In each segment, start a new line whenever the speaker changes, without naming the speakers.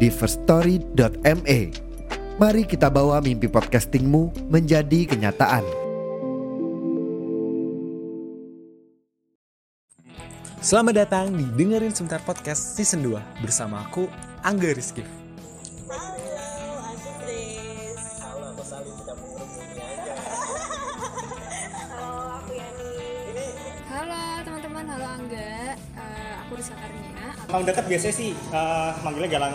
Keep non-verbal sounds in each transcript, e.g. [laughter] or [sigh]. di firststory.me. Mari kita bawa mimpi podcastingmu menjadi kenyataan.
Selamat datang di Dengerin Sebentar Podcast Season 2 bersama aku, Angga Rizky.
Halo, aku Grace.
Halo, aku Salim kita mengurung ini aja.
Halo, aku Yani.
Halo teman-teman, halo Angga. Eh, aku Risa Karmina.
Emang dekat biasanya sih eh, manggilnya galang,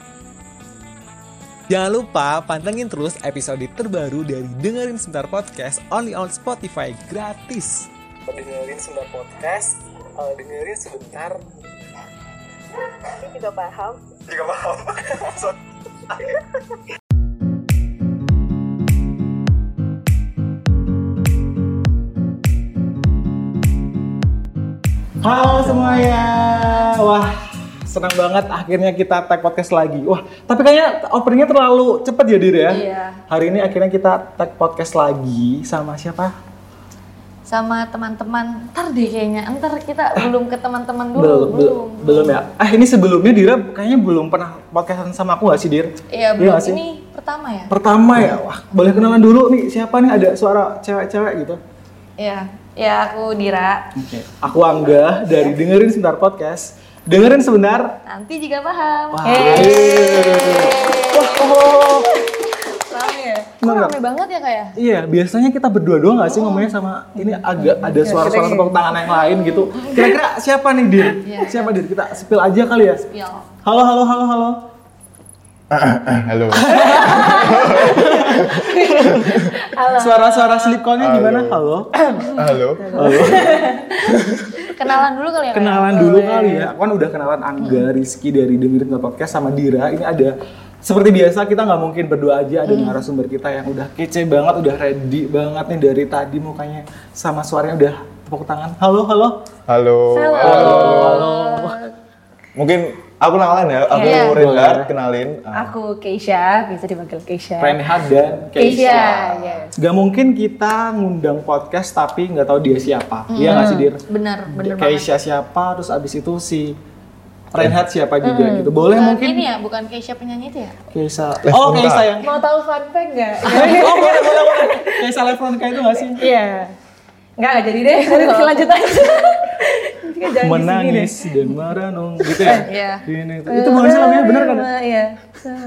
Jangan lupa pantengin terus episode terbaru dari Dengerin Sebentar Podcast only on Spotify gratis.
Dengerin sebentar podcast. dengerin sebentar.
Ini juga paham.
Juga paham. [laughs]
Halo semuanya. Wah, senang banget akhirnya kita tag podcast lagi. Wah, tapi kayaknya openingnya terlalu cepet ya Dir ya.
Iya.
Hari ini akhirnya kita tag podcast lagi sama siapa?
sama teman-teman ntar deh kayaknya ntar
[laughs]
kita belum ke teman-teman dulu
belum, belum, belum ya. Ah, ini sebelumnya Dira kayaknya belum pernah podcastan sama aku gak sih Dir?
iya belum
gak sih?
ini pertama ya
Pertama ya, wah boleh kenalan dulu nih siapa nih ada suara cewek-cewek gitu.
iya ya aku Dira
Oke. Aku Angga dari dengerin sebentar podcast. Dengerin sebentar.
nanti juga paham
Wah.
Wah, rame ya Kok
Bener.
rame banget ya kayak
Iya, biasanya kita berdua doang gak sih ngomongnya sama ini agak ada suara-suara tepuk tangan yang lain gitu. Kira-kira siapa nih Dir?
Iya.
Siapa Dir? Kita spill aja kali ya.
ya
Iya.
Halo, halo, halo, halo.
Halo.
Suara-suara slip call-nya gimana? Halo.
Halo.
kenalan dulu kali ya Kak?
Kenalan dulu kali ya. Aku kan udah kenalan Angga, Rizky dari Dengerin Nggak Podcast sama Dira. Ini ada seperti biasa kita nggak mungkin berdua aja ada narasumber kita yang udah kece banget, udah ready banget nih dari tadi mukanya sama suaranya udah tepuk tangan. Halo, halo.
Halo. Halo. Mungkin aku kenalan ya. Aku
Iya.
Renhard, kenalin. Ah,
Aku Keisha, bisa dipanggil Keisha.
Reinhard dan Keisha.
Keisha, iya. yes.
Gak mungkin kita ngundang podcast tapi nggak tahu dia siapa. Iya nggak sih Dir?
bener
Hmm,
bener banget
Keisha siapa, terus abis itu si Reinhard siapa juga
Hmm.
gitu. Boleh
Nah,
Bukan
mungkin
ini ya bukan Keisha penyanyi itu ya Ah.
Keisha. Oh
Levonka.
Keisha yang.
Mau tahu fun fact nggak?
oh boleh boleh boleh. Keisha Levonka itu nggak sih?
Iya. Nggak, nggak jadi deh. Nanti lanjut aja. Nanti kan jangan di sini deh. Eh,
Menangis dan merenung [laughs] gitu ya.
Iya.
Ini, itu. itu bukan sih lagunya bener kan?
Iya.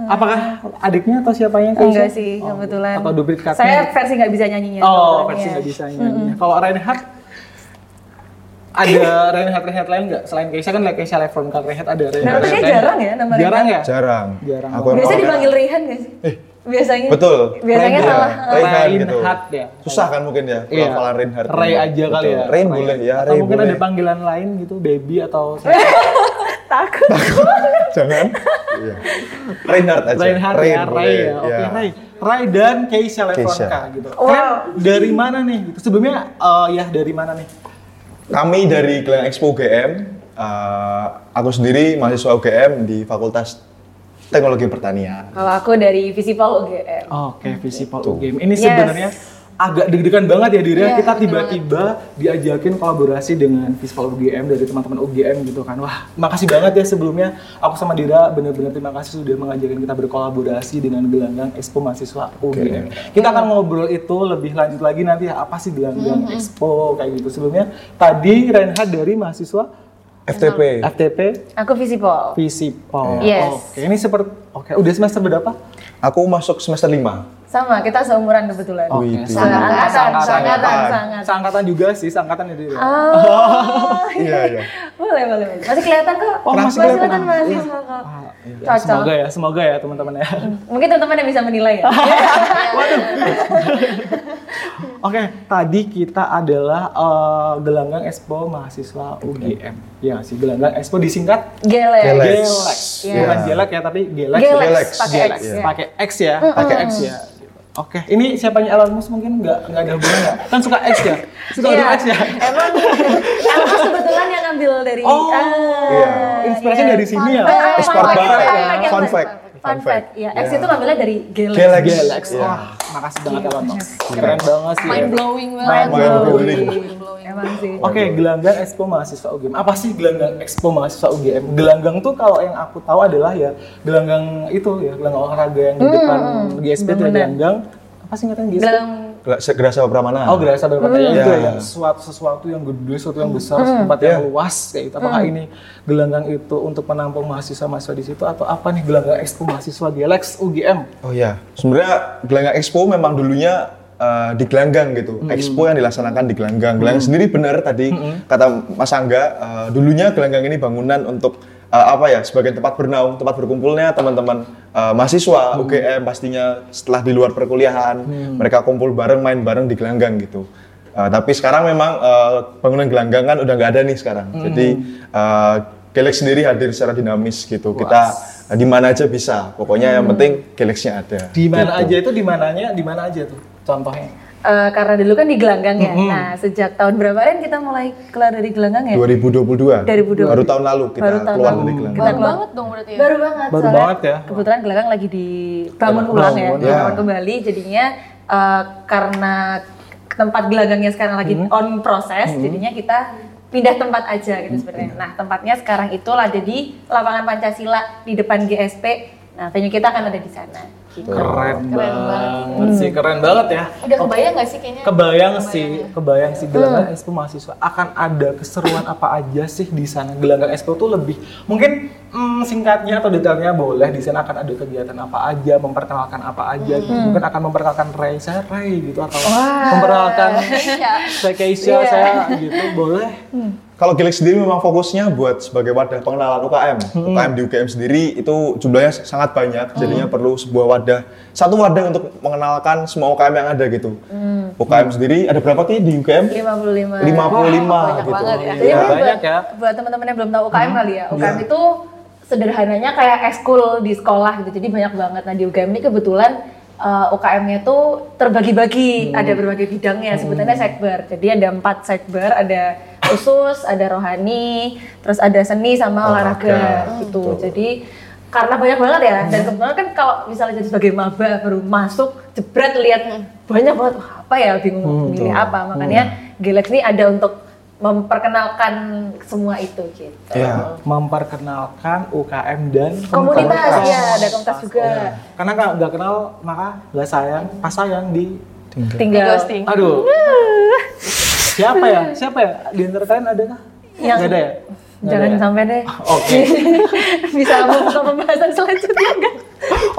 Apakah adiknya atau siapanya Keisha?
Enggak sih,
Oh,
kebetulan.
Atau duplikatnya?
Saya versi nggak bisa nyanyinya.
Oh,
kebetulan,
versi
iya.
nggak bisa nyanyi. Kalau Reinhardt ada Reinhardt Reinhardt lain nggak? Selain Keisha kan like Keisha Levon kan Reinhardt ada Reinhardt.
Namanya
Reinhardt.
jarang ya, nama
Jarang ya?
Jarang.
Jarang.
Aku
Biasa
Biasanya
orang-
dipanggil Rihan nggak sih? Biasanya.
Betul.
Biasanya
Reinhard.
salah.
Reinhard Iya, gitu.
Reinhard ya.
Susah kan mungkin ya
Iya.
pelafalan Reinhard.
Ray aja kali
Betul.
ya.
Rain
Ray.
boleh ya,
Atau
Ray
mungkin
boleh. Eh,
ada panggilan lain gitu, baby atau
Takut.
[laughs] Jangan. Iya. Reinhard aja.
Reinhard
Rain
ya, Ray
boleh.
ya. Oke,
Iya.
Ray. Ray dan Keisha Levonka
Keisha.
gitu.
Wow.
Kalian dari mana nih? Gitu. Sebelumnya eh, ya dari mana nih?
Kami dari Kalian Expo UGM. eh, aku sendiri mahasiswa UGM di Fakultas Teknologi Pertanian.
Kalau aku dari Visipol UGM.
Oke, Visipol
Tuh.
Game. Ini
Yes.
sebenarnya agak deg-degan banget ya Dira,
Iya,
kita
betul
tiba-tiba diajakin kolaborasi dengan Visipol UGM dari teman-teman UGM gitu kan. Wah, makasih banget ya sebelumnya. Aku sama Dira bener-bener terima kasih sudah mengajakin kita berkolaborasi dengan gelanggang Expo Mahasiswa UGM. Kita akan ngobrol itu lebih lanjut lagi nanti ya, apa sih gelanggang Expo kayak gitu. Sebelumnya tadi Reinhard dari mahasiswa
FTP.
FTP
Aku Visipol.
Visipol.
Yes.
Oke, ini seperti oke, udah semester berapa?
Aku masuk semester 5.
Sama, kita seumuran kebetulan.
Oke,
Wih,
Seangkatan,
seangkatan.
seangkatan, seangkatan.
Seangkatan juga sih, seangkatan itu. ya.
Oh,
Iya, iya.
boleh, boleh, boleh. Masih kelihatan kok.
Oh, masih kelihatan.
masih sama kok.
Ah, iya.
Cocok. Mm.
Semoga ya, semoga ya teman-teman ya.
Mungkin teman-teman yang bisa menilai ya.
Oke, tadi kita adalah eh, gelanggang Expo mahasiswa UGM. Ya sih, gelanggang Expo disingkat
Gelek.
Gelek.
Gelex.
Iya.
Bukan jelek ya, tapi Gelex.
Gelex,
Gelex.
pakai
Gelex.
X. ya.
Pakai X ya, pakai X ya. Oke, ini siapanya Elon Musk mungkin nggak nggak ada hubungannya nggak? Kan suka X ya, suka
Iya.
huruf X ya.
Emang emang kebetulan yang ngambil dari
Oh,
Ah,
iya.
Inspirasi
iya.
dari sini ya.
Ekspor
Fun fact, fun fact,
barang
fun
ya. Fun fact.
fact, fun fact. Fun fact. Iya, X itu ngambilnya dari Galaxy.
Galaxy.
Gelex.
Iya.
Wah, makasih banget Elon Musk. Keren banget sih.
Mind blowing
Mind
banget.
blowing.
Mind blowing.
Emang sih.
Oke, gelanggang Expo mahasiswa UGM. Apa sih gelanggang Expo mahasiswa UGM? Gelanggang tuh kalau yang aku tahu adalah ya gelanggang itu ya, gelanggang olahraga yang di depan GSP itu ya,
bener-bener.
gelanggang apa sih katanya GSP?
Dalam
Gela- Gerasa Pramana.
Oh, gerasa berpatah itu ya,
Iya.
sesuatu, sesuatu yang gede, sesuatu yang besar, tempat yang luas kayak gitu. Apakah ini gelanggang itu untuk menampung mahasiswa-mahasiswa di situ atau apa nih gelanggang Expo mahasiswa GLX UGM?
Oh iya, sebenarnya Gelanggang Expo memang dulunya eh, di Gelanggang gitu. Expo yang dilaksanakan di Gelanggang. Gelanggang sendiri benar tadi kata Mas Angga, eh, dulunya Gelanggang ini bangunan untuk eh, apa ya? Sebagai tempat bernaung, tempat berkumpulnya teman-teman eh, mahasiswa UGM pastinya setelah di luar perkuliahan, mereka kumpul bareng, main bareng di Gelanggang gitu. Eh, tapi sekarang memang eh, bangunan Gelanggang kan udah nggak ada nih sekarang.
Hmm.
Jadi eh, Galax sendiri hadir secara dinamis gitu. Kita eh, di mana aja bisa. Pokoknya
Hmm.
yang penting Galaxnya ada.
Di mana
Gitu.
aja itu di mananya? Di mana aja tuh? Contohnya.
eh, karena dulu kan di gelanggang ya.
Mm-hmm.
Nah, sejak tahun berapa kan kita mulai keluar dari gelanggang ya?
2022.
2022.
Baru tahun lalu kita
Baru tahun
keluar
lalu.
dari Gelanggang.
Kita
Baru
keluar.
banget dong berarti ya.
Baru banget.
Baru
soalnya
banget ya.
Kebetulan gelanggang lagi dibangun ulang ya,
ya.
dibangun kembali. Jadinya eh, karena tempat gelagangnya sekarang lagi
Mm-hmm.
on proses, jadinya kita pindah tempat aja gitu sebenarnya.
Mm-hmm.
Nah tempatnya sekarang itu ada di lapangan Pancasila di depan GSP. Nah venue kita akan ada di sana. Gitu.
Keren,
Keren
banget sih, keren banget ya.
Udah kebayang gak sih kayaknya?
Kebayang sih, kebayang sih gelanggang Expo mahasiswa akan ada keseruan apa aja sih di sana. Gelanggang Expo tuh lebih mungkin mm, singkatnya atau detailnya boleh di sana akan ada kegiatan apa aja, memperkenalkan apa aja, gitu. mungkin akan memperkenalkan Ray, saya Ray gitu atau memperkenalkan
Iya.
saya Keisha, saya gitu boleh.
Kalau Galax sendiri memang fokusnya buat sebagai wadah pengenalan UKM.
Hmm.
UKM di UKM sendiri itu jumlahnya sangat banyak, jadinya perlu sebuah wadah. Satu wadah untuk mengenalkan semua UKM yang ada gitu.
Hmm.
UKM sendiri ada berapa sih di UKM?
Iya,
55
55.
banyak
gitu.
banget ya.
Jadi
Iya,
mungkin
banyak
buat,
ya.
buat teman-teman yang belum tahu UKM kali ya, UKM itu sederhananya kayak ekskul di sekolah gitu. Jadi banyak banget. Nah di UKM ini kebetulan eh, UKM-nya tuh terbagi-bagi, ada berbagai bidangnya. Sebutannya sekber. Jadi ada empat sekber, ada khusus, ada rohani, terus ada seni sama olahraga,
Olahraga,
gitu.
betul.
Jadi karena banyak banget ya, dan kebetulan kan kalau misalnya jadi sebagai maba baru masuk, jebret lihat banyak banget Wah, apa ya bingung mau milih apa makanya Galax ini ada untuk memperkenalkan semua itu gitu.
Iya.
Memperkenalkan UKM dan
Komunitas,
iya,
ya ada komunitas juga.
Oh, iya. Karena kalau nggak kenal maka nggak sayang, pas sayang di
Tinggal
Ghosting.
[laughs]
Aduh. Siapa ya? Siapa ya? Di antara kalian ada kah?
Yang-
Nggak ada ya? Nggak
jangan Iya.
ada ya?
sampai deh [laughs]
Oke.
bisa membuka pembahasan selanjutnya kan.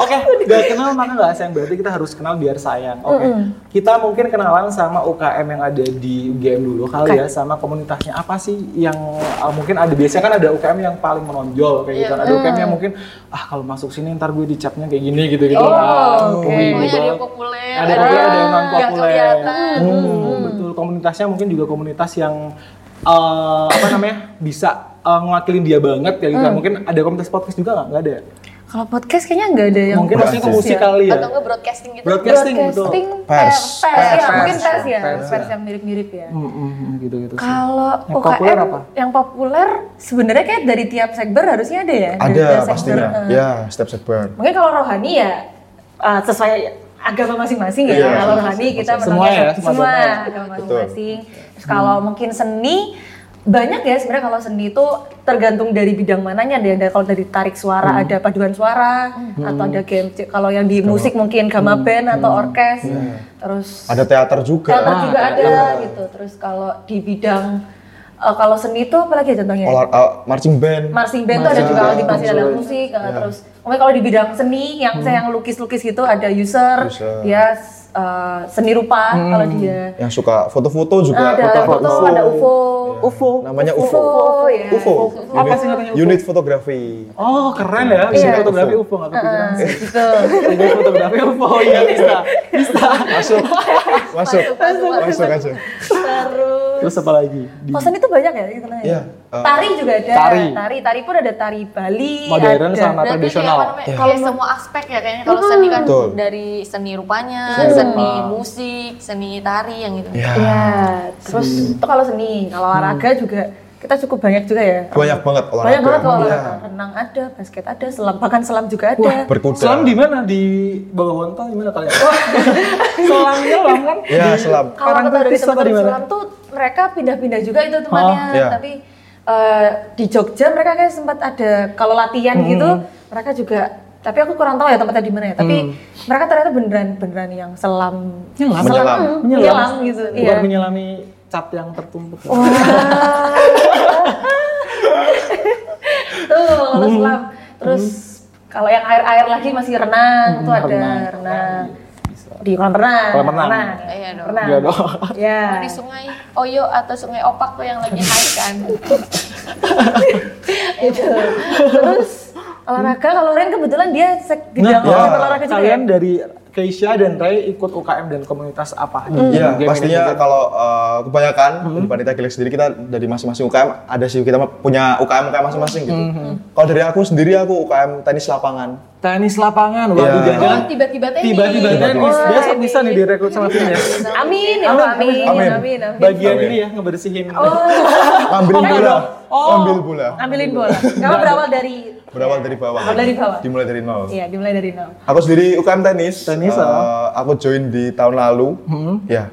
Oke, nggak kenal maka nggak sayang. Berarti kita harus kenal biar sayang. Oke. Kita mungkin kenalan sama UKM yang ada di UGM dulu kali ya sama komunitasnya apa sih yang uh, mungkin ada biasanya kan ada UKM yang paling menonjol kayak gitu.
Iya.
kan. Ada UKM
Mm.
yang mungkin ah kalau masuk sini ntar gue dicapnya kayak gini gitu gitu.
Oh, oke.
Pokoknya ada yang populer,
ada populer ada yang non populer
Gak kelihatan.
Hmm, betul komunitasnya mungkin juga komunitas yang eh, apa namanya bisa eh, ngewakilin dia banget ya gitu
Mm.
mungkin ada komunitas podcast juga nggak nggak ada ya?
Kalau podcast kayaknya nggak ada yang
mungkin maksudnya ke
Broadcast
musik
ya?
kali ya
Atau nggak broadcasting gitu.
broadcasting,
broadcasting
betul
Pers.
pers, pers,
Pers,
ya, mungkin
pers,
pers ya,
pers,
pers, yang mirip-mirip ya.
Hmm, hmm, hmm, gitu gitu sih
Kalau
Yang
UKM
populer apa?
yang populer sebenarnya kayak dari tiap sekber harusnya ada ya. Dari tiap
Ada
sekber,
pastinya.
eh.
Ya, step sekber.
Mungkin kalau rohani ya uh, sesuai agama masing-masing ya.
Iya,
kalau
iya,
rohani
iya,
kita
iya.
menonton
Semua ya, semua
semua
agama ya.
agama masing-masing. Terus kalau mungkin seni banyak ya sebenarnya kalau seni itu tergantung dari bidang mananya ada yang dari- kalau dari tarik suara ada paduan suara atau ada game kalau yang di musik mungkin gama band atau orkes terus
Ada teater juga.
teater juga ada
teater.
gitu terus kalau di bidang eh, eh, kalau seni itu apalagi ya contohnya?
Olah, eh, marching band.
marching band tuh ada
Marching
juga
band.
di masih ada
Betul.
musik eh, terus kemudian kalau di bidang seni yang saya yang lukis-lukis gitu ada user,
User.
dia eh, seni rupa kalau dia
yang suka foto-foto juga
ada foto, ada UFO
UFO.
namanya
UFO,
UFO
ya.
UFO
Apa
unit,
sih namanya UFO?
unit fotografi
Oh keren ya, bisa
Iya.
fotografi UFO nggak kepikiran
Eh,
sih.
gitu
Bisa fotografi UFO, iya bisa. Bisa.
masuk masuk
masuk,
masuk aja
terus
Terus apa lagi? Di
kosan itu banyak ya gitu lah ya?
Iya, eh,
tari juga ada
tari.
tari tari pun ada tari Bali
modern sama
ada.
Berarti kayak
tradisional.
apa namanya, Kalau semua aspek ya kayaknya kalau seni kan
Betul.
dari seni rupanya,
Seni
seni
rupa.
musik, seni tari yang gitu.
ya
Iya, terus itu kalau seni, kalau olahraga juga kita cukup banyak juga ya.
Hmm. banyak banget olahraga
Banyak banget kalau
Iya.
olahraga. Renang ada, basket ada, selam bahkan selam juga ada.
berkuda
Selam di mana? Di bawah Wonto di mana kalian? selam nyelam kan?
ya selam
kalau
Karang
aku tahu dari
Tartis apa
teman-teman
di mana?
selam tuh mereka pindah-pindah juga itu temannya,
Oh, iya.
tapi eh, di Jogja mereka kayak sempat ada kalau latihan
Hmm.
gitu, mereka juga tapi aku kurang tahu ya tempatnya di mana ya. Tapi
Hmm.
mereka ternyata beneran beneran yang selam,
Nyelam.
Menyelam.
mm, menyelam, gitu. Iya.
Bukan menyelami cat yang tertumpuk.
Tuh kalau
Hmm.
selam. Terus kalau yang air-air lagi masih renang, tuh ada renang.
Hmm, renang.
Di kolam renang.
Kolam renang.
Iya dong.
Renang.
Iya dong.
Iya.
[laughs] Di sungai Oyo atau sungai Opak tuh yang lagi high kan.
Gitu. Terus olahraga kalau Ren kebetulan dia sek
ya.
bidang olahraga juga.
Nah, iya. kalian
ya?
dari Keisha dan Ray ikut UKM dan komunitas apa? Di
Iya,
game
pastinya
manajemen.
kalau eh, kebanyakan di Panitia Gilead sendiri kita dari masing-masing UKM ada sih kita punya UKM UKM masing-masing gitu. Kalau dari aku sendiri aku UKM tenis lapangan.
tenis lapangan. Waduh,
Iya.
jangan
Oh, tiba-tiba tenis.
tiba-tiba tenis.
Wah,
Besok bisa nih direkrut sama timnya.
Amin, ya Allah, amin, amin, amin, amin, Oh.
Bagian
Amin.
ini ya ngebersihin.
Ambil
Oke,
bola,
Oh.
ambil bola.
Ambilin bola. Kamu berawal dari
Berawal dari bawah.
Berawal dari bawah.
Dimulai dari nol.
Iya, dimulai dari nol.
Aku sendiri UKM tenis.
Tenis,
Eh,
ah. Hmm.
aku join di tahun lalu. Ya,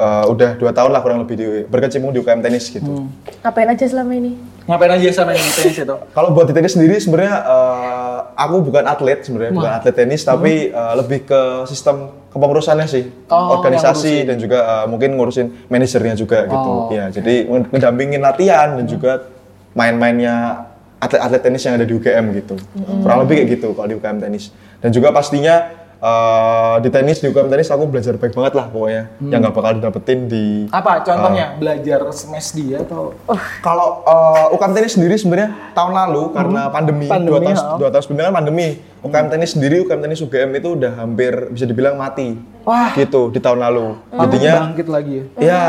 eh, udah dua tahun lah kurang lebih di, berkecimpung di UKM tenis gitu.
Hmm.
Ngapain aja selama ini?
Ngapain aja sama yang tenis itu?
Kalau buat di tenis sendiri sebenarnya eh, aku bukan atlet sebenarnya, bukan atlet tenis tapi eh, lebih ke sistem kepengurusannya sih.
Hmm. Oh, yang
Organisasi dan juga eh, mungkin ngurusin manajernya juga gitu. Ya, jadi nge- ngedampingin latihan dan juga main-mainnya atlet-atlet tenis yang ada di UGM gitu.
Hmm.
Kurang lebih kayak gitu kalau di UGM tenis. Dan juga pastinya eh, di tenis di UGM tenis aku belajar baik banget lah pokoknya
Hmm.
yang nggak bakal didapetin di
Apa contohnya? Belajar smash dia atau
Oh.
kalau uh, UKM tenis sendiri sebenarnya tahun lalu karena pandemi,
Hmm. Pandemi, Hmm.
dua tahun
ya.
dua tahun sebelumnya kan pandemi UKM tenis sendiri UKM tenis UGM itu udah hampir bisa dibilang mati
Wah.
gitu di tahun lalu jadinya
bangkit lagi ya?
ya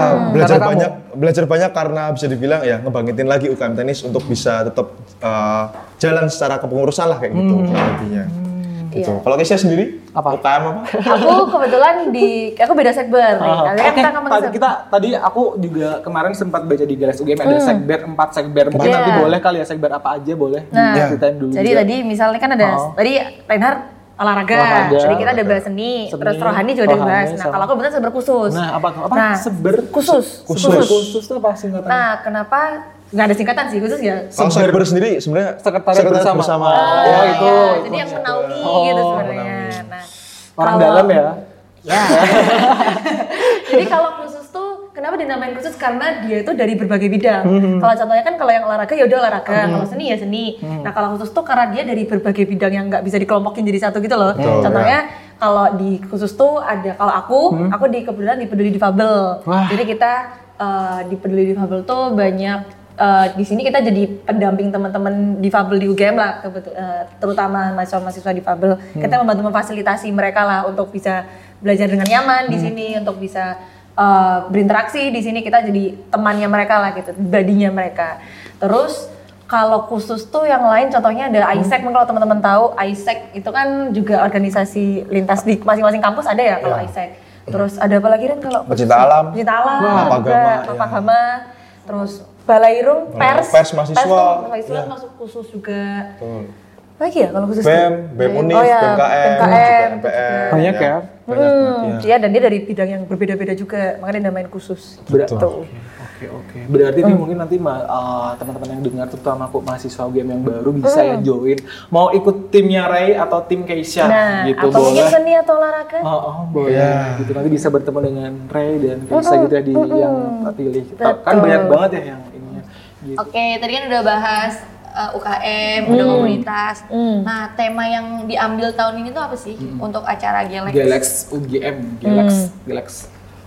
Karena
belajar
kamu.
banyak belajar banyak karena bisa dibilang ya ngebangkitin lagi UKM tenis untuk bisa tetap uh, jalan secara kepengurusan lah kayak gitu kurang lebihnya. gitu kalau Kesia sendiri
Hmm. iya. Apa?
UKM
[laughs]
apa
aku kebetulan di aku beda sekber nih.
Ah,
Kalian
Oke,
kita ngomong
tadi
sekber.
kita tadi aku juga kemarin sempat baca di Galaxy UGM ada sekber 4 sekber. Mungkin
Hmm. Iya.
nanti boleh kali ya sekber apa aja boleh
Nah,
diceritain Kan dulu.
Jadi
juga.
tadi misalnya kan ada
Oh.
tadi Reinhard olahraga,
Olahraga.
jadi kita ada bahas seni,
Seni,
terus rohani juga ada
rohani,
bahas. Nah,
sama-
kalau aku betul seber khusus.
Nah, apa tuh? Apa?
Nah,
Seber
khusus.
khusus. Seber khusus itu apa singkatannya?
Nah, kenapa nggak ada singkatan sih khusus ya?
kalau Sekber sendiri sebenarnya
Sekretariat bersama. Oh,
Ya,
Nah,
itu,
ya,
itu
jadi yang
maksudnya.
menaungi
Oh,
gitu sebenarnya. Nah,
Orang
kalau-
dalam ya.
Ya. Jadi kalau khusus tuh kenapa dinamain khusus karena dia itu dari berbagai bidang.
Hmm.
Kalau contohnya kan kalau yang olahraga ya udah olahraga, kalau seni ya seni.
Hmm.
Nah, kalau khusus tuh karena dia dari berbagai bidang yang nggak bisa dikelompokin jadi satu gitu loh.
Betul,
contohnya kalau di khusus tuh ada kalau aku, aku di kebetulan di peduli difabel.
Wah.
Jadi kita eh, di peduli difabel tuh banyak eh, di sini kita jadi pendamping teman-teman difabel di UGM lah kebetul- eh, terutama mahasiswa-mahasiswa difabel. Kita membantu memfasilitasi mereka lah untuk bisa belajar dengan nyaman di sini untuk bisa eh, berinteraksi di sini kita jadi temannya mereka lah gitu, badinya mereka. Terus kalau khusus tuh yang lain contohnya ada
Hmm.
ISEC mungkin kalau teman-teman tahu ISEC itu kan juga organisasi lintas di masing-masing kampus ada ya kalau ISEC. Terus ada apa lagi kan kalau khusus?
Pecinta alam.
Pecinta alam,
Wah,
juga,
Mapagama, ya.
Mapagama, terus Balairung,
Balai
pers,
Pers mahasiswa.
tuh mahasiswa
Ya.
masuk khusus juga.
Betul.
Apa Lagi ya kalau khusus
BEM, BEM
Oh
Unif,
ya,
BMKM,
BMKM.
BMPM,
Banyak ya.
Banyak
Hmm,
banget, ya.
iya dan dia dari bidang yang berbeda-beda juga, makanya dinamain khusus.
Betul.
Gitu.
Oke oke. Hmm. Berarti ini mungkin nanti ma- eh, teman-teman yang dengar terutama aku mahasiswa UGM yang baru bisa
Hmm.
ya join. Mau ikut timnya Ray atau tim Keisha
Nah,
gitu
atau mungkin
boleh.
seni atau olahraga?
Oh, oh, boleh.
Iya.
Gitu nanti bisa bertemu dengan Ray dan Keisha gitu ya di yang pilih.
Hmm, Betul.
Kan banyak banget ya yang ini. Gitu.
Oke, tadi kan udah bahas eh, UKM, udah
Hmm.
komunitas.
Hmm.
Nah, tema yang diambil tahun ini tuh apa sih
Hmm.
untuk acara Galax?
Galax UGM,
Hmm.
Galax, Galax.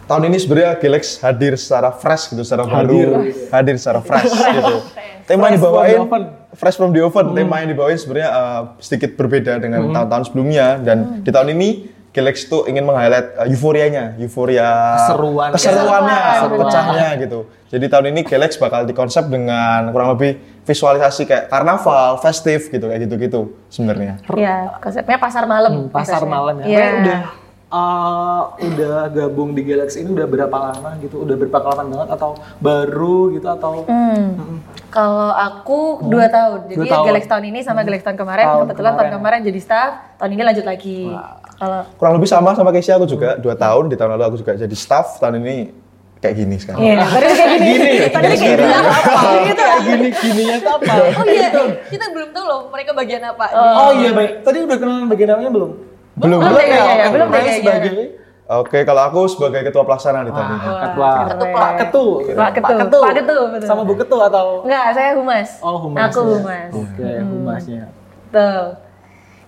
tahun ini sebenarnya Gilex hadir secara fresh gitu, secara baru, hadir secara fresh gitu. Tema
Fresh from
yang dibawain
the oven. Hmm.
fresh from the oven. Tema yang dibawain sebenarnya uh, sedikit berbeda dengan tahun-tahun sebelumnya dan di tahun ini Gilex tuh ingin meng-highlight uh, euforianya, euforia
Keseruan.
keseruannya,
Keseruan.
pecahnya gitu. Jadi tahun ini Gilex bakal dikonsep dengan kurang lebih visualisasi kayak karnaval, festive gitu kayak gitu-gitu sebenarnya.
Iya, konsepnya pasar
Hmm,
malam.
pasar
biasanya.
malam ya.
Iya.
Tapi udah uh, udah gabung di Galaxy ini udah berapa lama gitu? Udah berapa lama banget atau baru gitu atau
Hmm. Kalau aku dua tahun, jadi
Hmm. Dua tahun. Hmm.
Galax tahun ini sama Galax tahun kemarin.
Tahun
Kebetulan tahun
kemarin.
kemarin jadi staff, tahun ini lanjut lagi. Kalau
Kurang lebih sama sama Kesia aku juga, dua tahun di tahun lalu aku juga jadi staff, tahun ini kayak gini sekarang.
Iya, tadi kayak gini. Tadi kayak gini.
Gitu
Hmm.
[laughs] gini gininya tuh
[laughs]
apa?
Oh iya, kita belum tahu loh mereka bagian apa.
Oh iya baik. Tadi udah kenalan bagian namanya belum? iya,
Belum,
Belum,
belum
ya, ya, ya,
oke.
belum
Saya
ya, ya.
sebagai
Oke, kalau aku sebagai ketua pelaksana di tahun ini.
ketua iya. Pak Ketu.
Pak Ketu. Pak Ketu, betul.
Sama Bu Ketu atau
Enggak, saya humas.
Oh, humas.
Aku
ya.
humas.
Oke, humasnya.
Betul.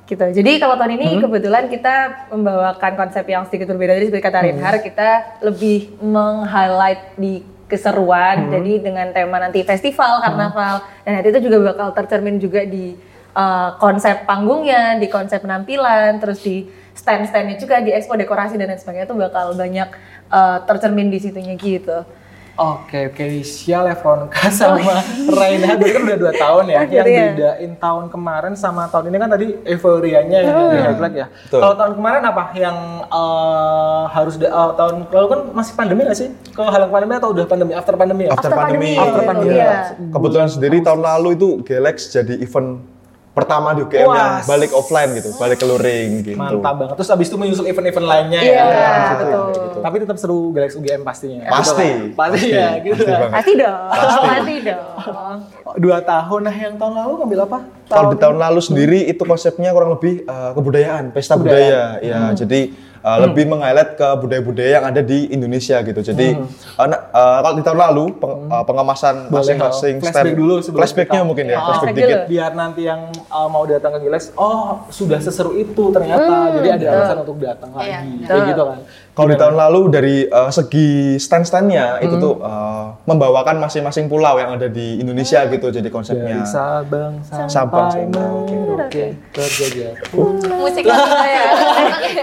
Gitu. Jadi kalau tahun ini kebetulan kita membawakan konsep yang sedikit berbeda. Jadi seperti kata Reinhard, kita lebih meng-highlight di keseruan. Jadi dengan tema nanti festival, karnaval, dan nanti itu juga bakal tercermin juga di eh, konsep panggungnya, di konsep penampilan, terus di stand-standnya juga, di expo dekorasi dan lain sebagainya itu bakal banyak eh, tercermin di situnya gitu.
Oke, Keisha Lefronka [laughs] sama Raina berarti kan udah 2 tahun ya yang
Akhirnya.
bedain tahun kemarin sama tahun ini kan tadi euforianya yang di highlight ya.
Betul.
Kalau tahun kemarin apa yang eh, harus da- eh, tahun lalu kan masih pandemi nggak sih? Kalau halang pandemi atau udah pandemi after pandemi ya?
After
After
pandemi.
pandemi. After
pandemi.
Iya. Kebetulan sendiri tahun lalu itu Galax jadi event pertama di UGM yang
Wah.
balik offline gitu, balik ke luring gitu.
Mantap banget. Terus abis itu menyusul event-event lainnya
Iya,
ya.
Gitu,
betul.
kayak gitu.
Tapi tetap seru Galaxy UGM pastinya.
Pasti. iya,
Betul kan? Pasti, ya gitu.
Pasti
kan.
banget.
Pasti dong, pasti dong.
Dua tahun nah yang tahun lalu ngambil apa?
Kalau di tahun lalu sendiri itu konsepnya kurang lebih eh, kebudayaan, pesta budaya. Ya, jadi eh, lebih meng-highlight ke budaya-budaya yang ada di Indonesia gitu. Jadi anak eh, kalau di tahun lalu peng- eh, pengemasan
Boleh
masing-masing
dong. Flashback dulu sebelum
flashbacknya
kita-
mungkin ya,
Oh,
flashback
flashback
dikit.
dulu.
biar nanti yang uh, mau datang ke Gilex, oh sudah seseru itu ternyata, jadi ada alasan untuk datang lagi, kayak gitu kan.
Kalau di tahun lalu dari eh, segi stand-standnya itu tuh eh, membawakan masing-masing pulau yang ada di Indonesia gitu. Jadi konsepnya.
Dari Sabang
Sabang
sampai
sampai
Merauke, Kerja [laughs]
Musik apa ya?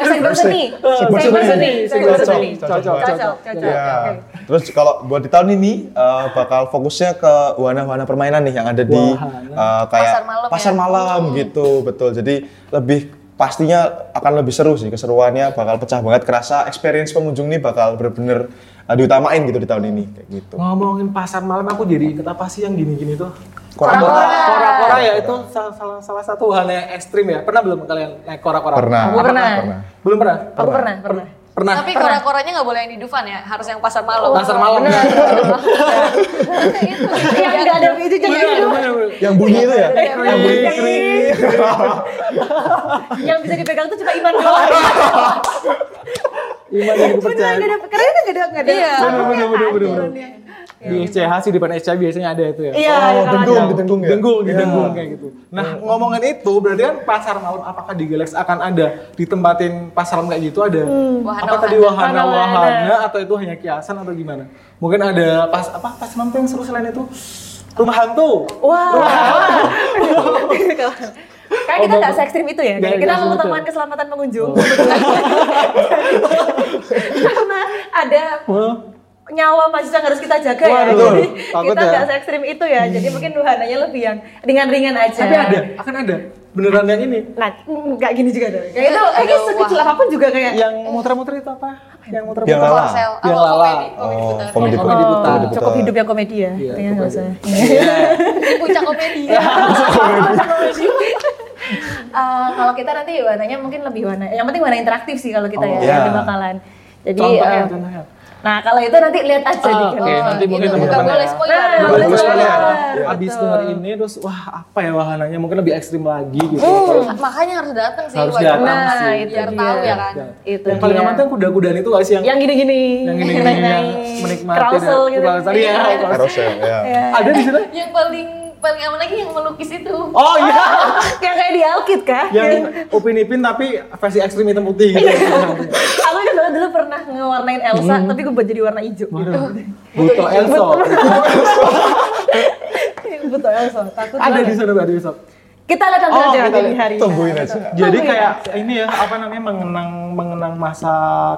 Segmen seni.
Segmen
Segmen seni.
seni.
Segmen
Cocok,
seni.
cocok,
Cocok, cocok.
Ya.
Oke.
Terus kalau buat di tahun ini eh, bakal fokusnya ke wahana-wahana permainan nih yang ada di eh, kayak
Pasar malam ya?
malam gitu, betul. Jadi lebih pastinya akan lebih seru sih keseruannya bakal pecah banget kerasa experience pengunjung nih bakal bener-bener eh, diutamain gitu di tahun ini kayak gitu.
Ngomongin pasar malam, aku jadi inget apa sih yang gini-gini tuh?
Kurang-
Kora-kora ya itu salah, salah, salah satu wahana yang ekstrim ya. Pernah belum kalian naik kora-kora?
pernah.
Aku pernah.
pernah.
Belum pernah?
Aku pernah, pernah.
Pernah. Oh,
Tapi kora-koranya nggak boleh yang di Dufan ya, harus yang pasar malam. Iya,
pasar malam. Bener,
[laughs]
Yang nggak ada itu
Iya,
jangan itu.
bener, bener.
Yang bunyi itu ya?
Iya, Yang bunyi kering.
Yang bisa dipegang tuh cuma iman doang.
Iman yang
Beneran
dipercaya.
nggak ada keren nggak ada nggak ada.
Iya.
Bener, bener, bener, bener, bener. Di SCH sih, di depan SCH biasanya ada itu ya.
Iya.
Oh,
kalau
denggung,
ada.
denggung ya. Iya.
Denggung, didenggung kayak gitu. Nah, ngomongin itu berarti kan pasar malam apakah di Galax akan ada ditempatin pasar malam kayak gitu ada apa
Wahana-wahana.
tadi wahana-wahana atau itu hanya kiasan atau gimana? Mungkin ada pas apa pas malam tuh yang seru selain itu rumah hantu.
Wah. Karena kita nggak se ekstrim itu ya,
Nggak,
kita
nggak
mengutamakan
betul.
keselamatan pengunjung. Karena ada
Wah,
nyawa masih yang harus kita jaga ya.
Waduh,
Jadi
takut
kita
ya.
nggak se ekstrim itu ya. Jadi mungkin wahananya lebih yang ringan-ringan aja.
tapi ada, akan ada. Beneran yang ini
Nah, nggak gini juga dong. Kayak itu, kayaknya sekecil apapun juga kayak.
yang muter-muter itu apa? Yang muter-muter.
Yang lala.
Korsel, apa
Yang lala. Iya,
komedi?
Oh,
Komedi putar.
komedi
Komedi
putar.
putar.
Komedi putar.
cukup hidup yang komedi ya.
gitu. Iya,
Kayaknya nggak usah.
Di puncak komedi.
Eh, kalau kita nanti warnanya mungkin lebih warna. Yang penting warna interaktif sih kalau
Oh,
kita ya,
iya.
nanti bakalan. Jadi
Contohnya,
eh,
contohnya.
nah kalau itu nanti lihat aja di
Oke, nanti mungkin
Gitu,
teman-teman
nggak boleh
ya.
spoiler.
Nah,
Boleh boleh spoiler.
Ya, Abis denger ini terus wah apa ya wahananya mungkin lebih ekstrim lagi gitu.
Makanya harus datang sih.
Harus
wajib.
datang
Nah,
sih. Iya,
itu
Biar
dia.
tahu ya kan.
Itu
yang paling
dia.
aman tuh yang kuda-kudaan itu gak sih yang
Yang gini-gini.
yang gini
Naik-naik.
yang menikmati
carousel
dan-
gitu.
carousel, iya,
Iya. [laughs]
carousel.
Carousel ya.
Ada di sana?
Yang paling paling aman lagi yang melukis itu.
Oh iya.
Yang kayak di Alkit kan. kah?
yang Upin Ipin tapi versi ekstrim hitam putih gitu.
Aku kan dulu, dulu pernah ngewarnain Elsa, tapi gue buat jadi warna hijau.
Hmm. Waduh,
[laughs]
butuh Elso.
Betul Elsa, takut
Ada di
banget.
sana berarti besok.
Kita lihat nanti
Oh,
aja
kita
di
lihat.
hari.
Tungguin aja.
Jadi
Oh, iya.
kayak ini ya apa namanya mengenang mengenang masa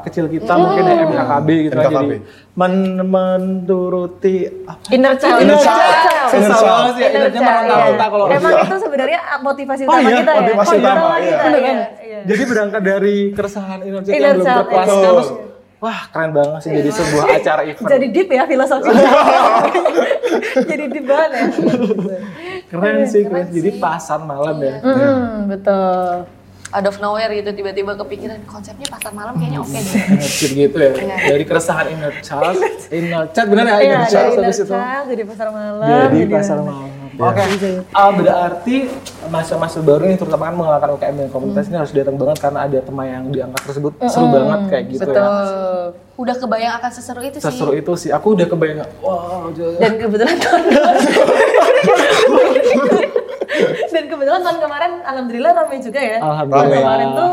kecil kita
Hmm.
mungkin ya MKKB gitu kan.
MKKB.
Jadi men- menuruti apa?
Inner child.
Inner
Inner child.
child.
Inner
Susah
child.
banget sih ya,
Inner
inernya
child,
meronta-ronta
iya.
kalau
Emang itu sebenarnya ah, motivasi
Oh
utama
iya,
kita ya.
motivasi utama, iya.
kita,
Bener kan?
iya, iya.
Jadi berangkat dari keresahan inner child
Inner
yang belum
child,
terpuaskan
betul.
terus wah keren banget sih jadi
[laughs]
sebuah acara event.
Jadi deep ya
[laughs]
filosofi. Jadi deep banget ya.
keren sih keren. Jadi pasar malam ya.
Hmm, betul.
Out of nowhere gitu tiba-tiba kepikiran konsepnya pasar malam kayaknya oke deh.
Inner child gitu ya. Dari keresahan inner child, inner child benar ya
Iya,
inner
dari
child
inner Iya,
habis itu.
child, jadi pasar malam.
Jadi pasar
warna-
malam. Oke. Ah, berarti masa-masa baru ini terutama kan mengalahkan UKM dan komunitas
Hmm.
ini harus datang banget karena ada tema yang diangkat tersebut seru banget kayak gitu ya.
Udah kebayang akan seseru itu sih.
Seseru itu sih. Aku udah kebayang. Wow. jauh.
Dan kebetulan tahun Dan kebetulan tahun kemarin alhamdulillah ramai juga ya. Tahun
Alhamdulillah.
kemarin tuh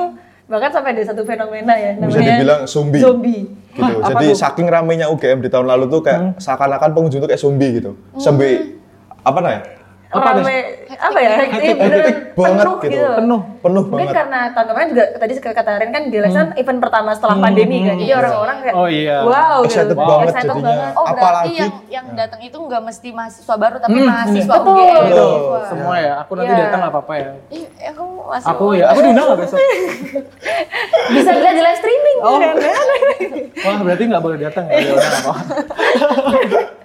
bahkan sampai ada satu fenomena ya
Bisa dibilang zombie.
Zombie.
Gitu.
Hah, apa
Jadi
tuh? Hmm.
saking ramainya UGM di tahun lalu tuh kayak seakan-akan pengunjung tuh kayak zombie gitu. Sampai apa namanya?
apa deh?
rame apa ya? Hektik, beneran
Hektik banget
penuh
gitu.
gitu.
Penuh. Hmm.
Penuh
Mungkin
banget.
karena tahun kemarin juga tadi kata Rin kan di Lesan event pertama setelah pandemi kan. Jadi orang-orang kayak
Oh, iya.
wow gitu.
Excited banget
Excited
jadinya.
banget.
Oh berarti
Apalagi-
yang yang
Ya.
datang itu nggak mesti mahasiswa baru
Hmm,
tapi mahasiswa
Betul.
UGM.
Betul.
Semua ya. Aku nanti
Iya.
datang nggak apa-apa ya.
Ih, aku masih
Aku ya. Aku diundang nggak
[laughs]
besok?
Bisa dilihat di live streaming ya.
Oh.
Rin.
Wah berarti nggak boleh datang ya. Ya udah nggak apa-apa.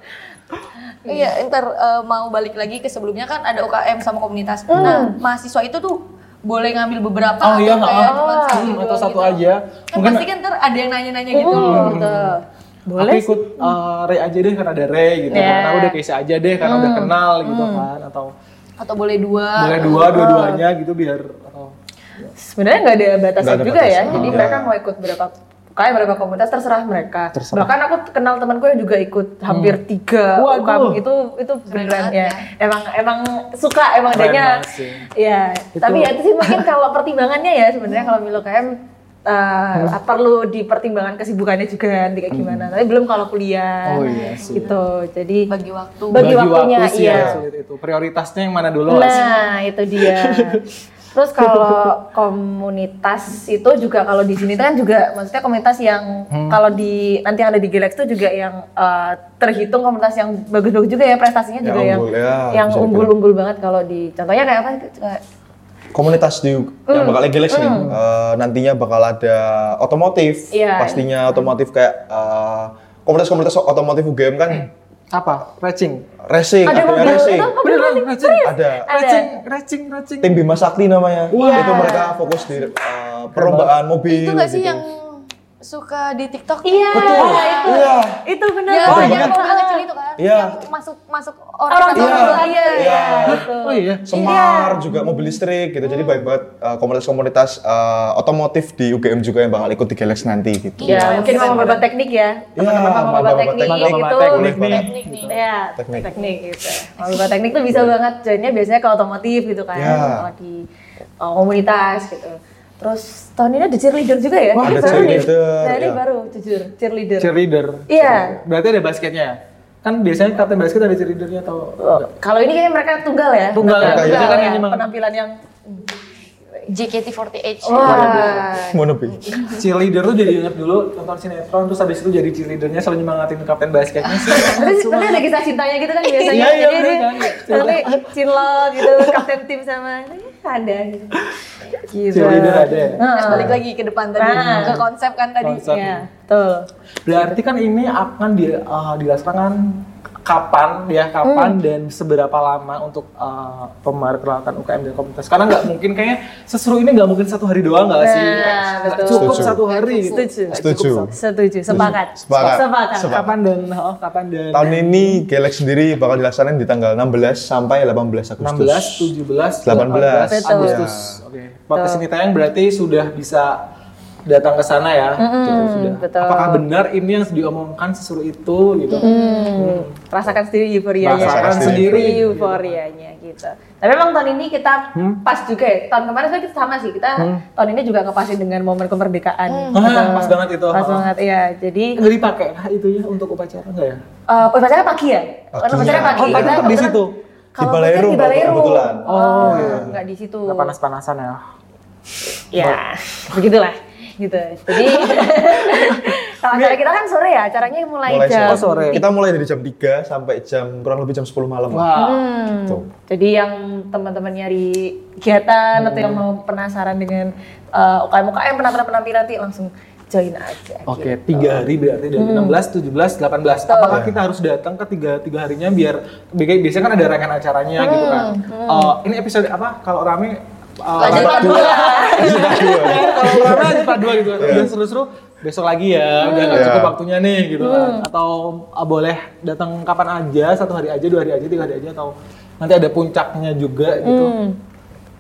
Iya, ntar eh, mau balik lagi ke sebelumnya kan ada UKM sama komunitas. Nah, mahasiswa itu tuh boleh ngambil beberapa
Hmm. Oh iya.
atau
nggak
kayak
apa-apa.
cuma satu,
Hmm, Atau
dua
satu
gitu.
aja.
Kan pasti kan ntar ada yang nanya-nanya gitu loh.
Betul.
aku ikut uh, Ray aja deh karena ada Ray gitu
Iya.
Ya.
kan. Aku udah Keisha aja deh karena
Hmm.
udah kenal gitu kan. Atau
Atau boleh dua.
boleh dua, dua-duanya
Hmm.
gitu biar atau
Sebenarnya nggak ada batasan
Nggak ada
juga ya.
batasan.
Jadi
Iya.
mereka mau ikut berapa kayak berapa komunitas terserah mereka. Bahkan aku kenal teman gue yang juga ikut hampir tiga
Waduh.
UKM itu itu beneran
banget
ya. Emang emang suka emang
Keren
adanya.
banget sih.
Iya. Tapi ya itu sih mungkin kalau pertimbangannya ya sebenarnya kalau Milo KM eh, perlu dipertimbangkan kesibukannya juga nanti kayak gimana. Tapi belum kalau kuliah.
Oh, iya sih.
Gitu. Jadi
Bagi waktu.
Bagi waktunya,
sih
iya.
yang sulit itu. Prioritasnya yang mana dulu?
Nah, itu dia. Terus kalau komunitas itu juga kalau di sini tuh kan juga maksudnya komunitas yang kalau di nanti yang ada di Galax itu juga yang eh, terhitung komunitas yang bagus-bagus juga ya prestasinya
Ya,
juga yang
unggul, ya,
yang
bisa dibilang.
unggul-unggul banget kalau di contohnya kayak apa Kayak
Komunitas di yang bakal Galaxy nih, eh, nantinya bakal ada otomotif.
Iya.
Pastinya otomotif kayak eh, komunitas-komunitas otomotif UGM kan
Apa? Racing.
racing,
ada
yang
mobil
racing.
itu mobil racing.
Ada
Racing, racing, racing.
tim Bima Sakti namanya. Itu mereka fokus di eh, perlombaan mobil.
Itu nggak sih
gitu.
yang suka di TikTok? kan?
Iya,
Betul.
itu.
Iya.
Itu benar.
Ya,
iya.
yang mobil kecil itu kan.
Iya.
Yang masuk masuk orang,
Orang tua
satu-
orang tua, iya, iya, gitu.
Oh iya.
Semar juga mobil listrik gitu. Jadi baik banget eh, komunitas-komunitas eh, otomotif di UGM juga yang bakal ikut di Galax nanti gitu.
Ya, mungkin mau babat teknik ya. Teman-teman mau
maba-maba
babat teknik
teknik.
gitu.
Boleh
nih.
banget.
Teknik nih.
Ya,
Teknik.
teknik, gitu. Kalau bukan teknik tuh bisa banget joinnya biasanya ke otomotif gitu kan,
Ya.
kalau di uh, komunitas gitu. Terus tahun ini ada cheerleader juga ya?
Wah,
Ini
ada
baru nih.
cheerleader,
Nah, ini
ya.
baru jujur cheerleader.
Cheerleader.
Iya.
Berarti ada basketnya ya? Kan biasanya kapten basket ada cheerleadernya atau
Oh, Kalau ini kayaknya mereka tunggal ya.
Tunggal ya,
Tunggal
biasanya kan
ya,
ini mah-
penampilan yang
JKT48.
wah.
Mau nepi.
cheerleader tuh jadi inget dulu nonton sinetron terus habis itu jadi cheerleadernya selalu nyemangatin kapten basketnya.
Terus nanti ada kisah cintanya gitu kan biasanya.
Iya, iya,
Jadi
bener
ini
kan.
Nanti cinlok gitu, kapten tim sama ini ada. Gitu.
cheerleader ada. ya?
Terus balik lagi ke depan tadi
Ah.
ke konsep kan tadi.
Konsep.
Iya, betul.
Berarti kan ini akan di, eh, dilaksanakan kapan ya kapan
Hmm.
dan seberapa lama untuk eh, pemerkenalkan UKM dan komunitas karena nggak mungkin kayaknya seseru ini nggak mungkin satu hari doang nggak sih
Nah,
Nggak
betul.
cukup
Setuju.
satu hari gitu.
Setuju.
Nggak cukup
Setuju.
satu-
Setuju, sepakat.
Sepakat.
Sepakat.
Sepakat.
kapan dan oh kapan dan
Tahun ini Galax sendiri bakal dilaksanain di tanggal 16 sampai 18 Agustus. Iya.
16, 17,
18.
18
Betul.
Agustus. Oke. Podcast ini tayang berarti sudah bisa datang ke sana ya.
Mm-mm,
gitu, sudah.
betul.
Apakah benar ini yang diomongkan sesuruh itu gitu?
Hmm, rasakan sendiri euforianya.
Rasakan
Rasakan
sendiri.
sendiri euforianya gitu. Tapi memang tahun ini kita
Hmm?
pas juga ya. Tahun kemarin sebenarnya kita sama sih. Kita tahun ini juga ngepasin dengan momen
Ah,
kemerdekaan. Betul.
pas banget itu.
Pas
Ah.
banget iya. Jadi
Nggak dipakai lah itunya untuk upacara enggak ya?
eh upacaranya pagi ya?
Oh,
Upacaranya pagi.
tapi
Kita
tetap di
kebetulan-
situ.
Kalau
Di Balairu,
kita di Balairu.
kebetulan. iya.
Oh, nggak di situ.
Nggak panas-panasan ya.
Ya, begitulah gitu.
[laughs]
Jadi [laughs] kalau acara kita kan sore ya, acaranya mulai, jam.
Oh, sore.
Kita mulai dari jam 3 sampai jam kurang lebih jam 10 malam.
Wah.
Hmm,
Tuh.
Jadi yang teman-teman nyari kegiatan atau yang mau penasaran dengan uh, UKM UKM penampilan penampilan nanti langsung join aja.
Oke,
gitu.
tiga hari berarti dari 16, 17, 18. Apakah kita harus datang ke tiga, tiga harinya biar biasanya kan ada rangkaian acaranya gitu kan? Eh, ini episode apa? Kalau rame eh, lanjut
Lanjut part
[laughs]
dua.
Kan, kalau rame aja part 2 gitu kan. Udah seru-seru besok lagi ya, udah gak
Iya.
cukup waktunya nih gitu kan. Atau ah, boleh datang kapan aja, satu hari aja, dua hari aja, tiga hari aja atau nanti ada puncaknya juga gitu.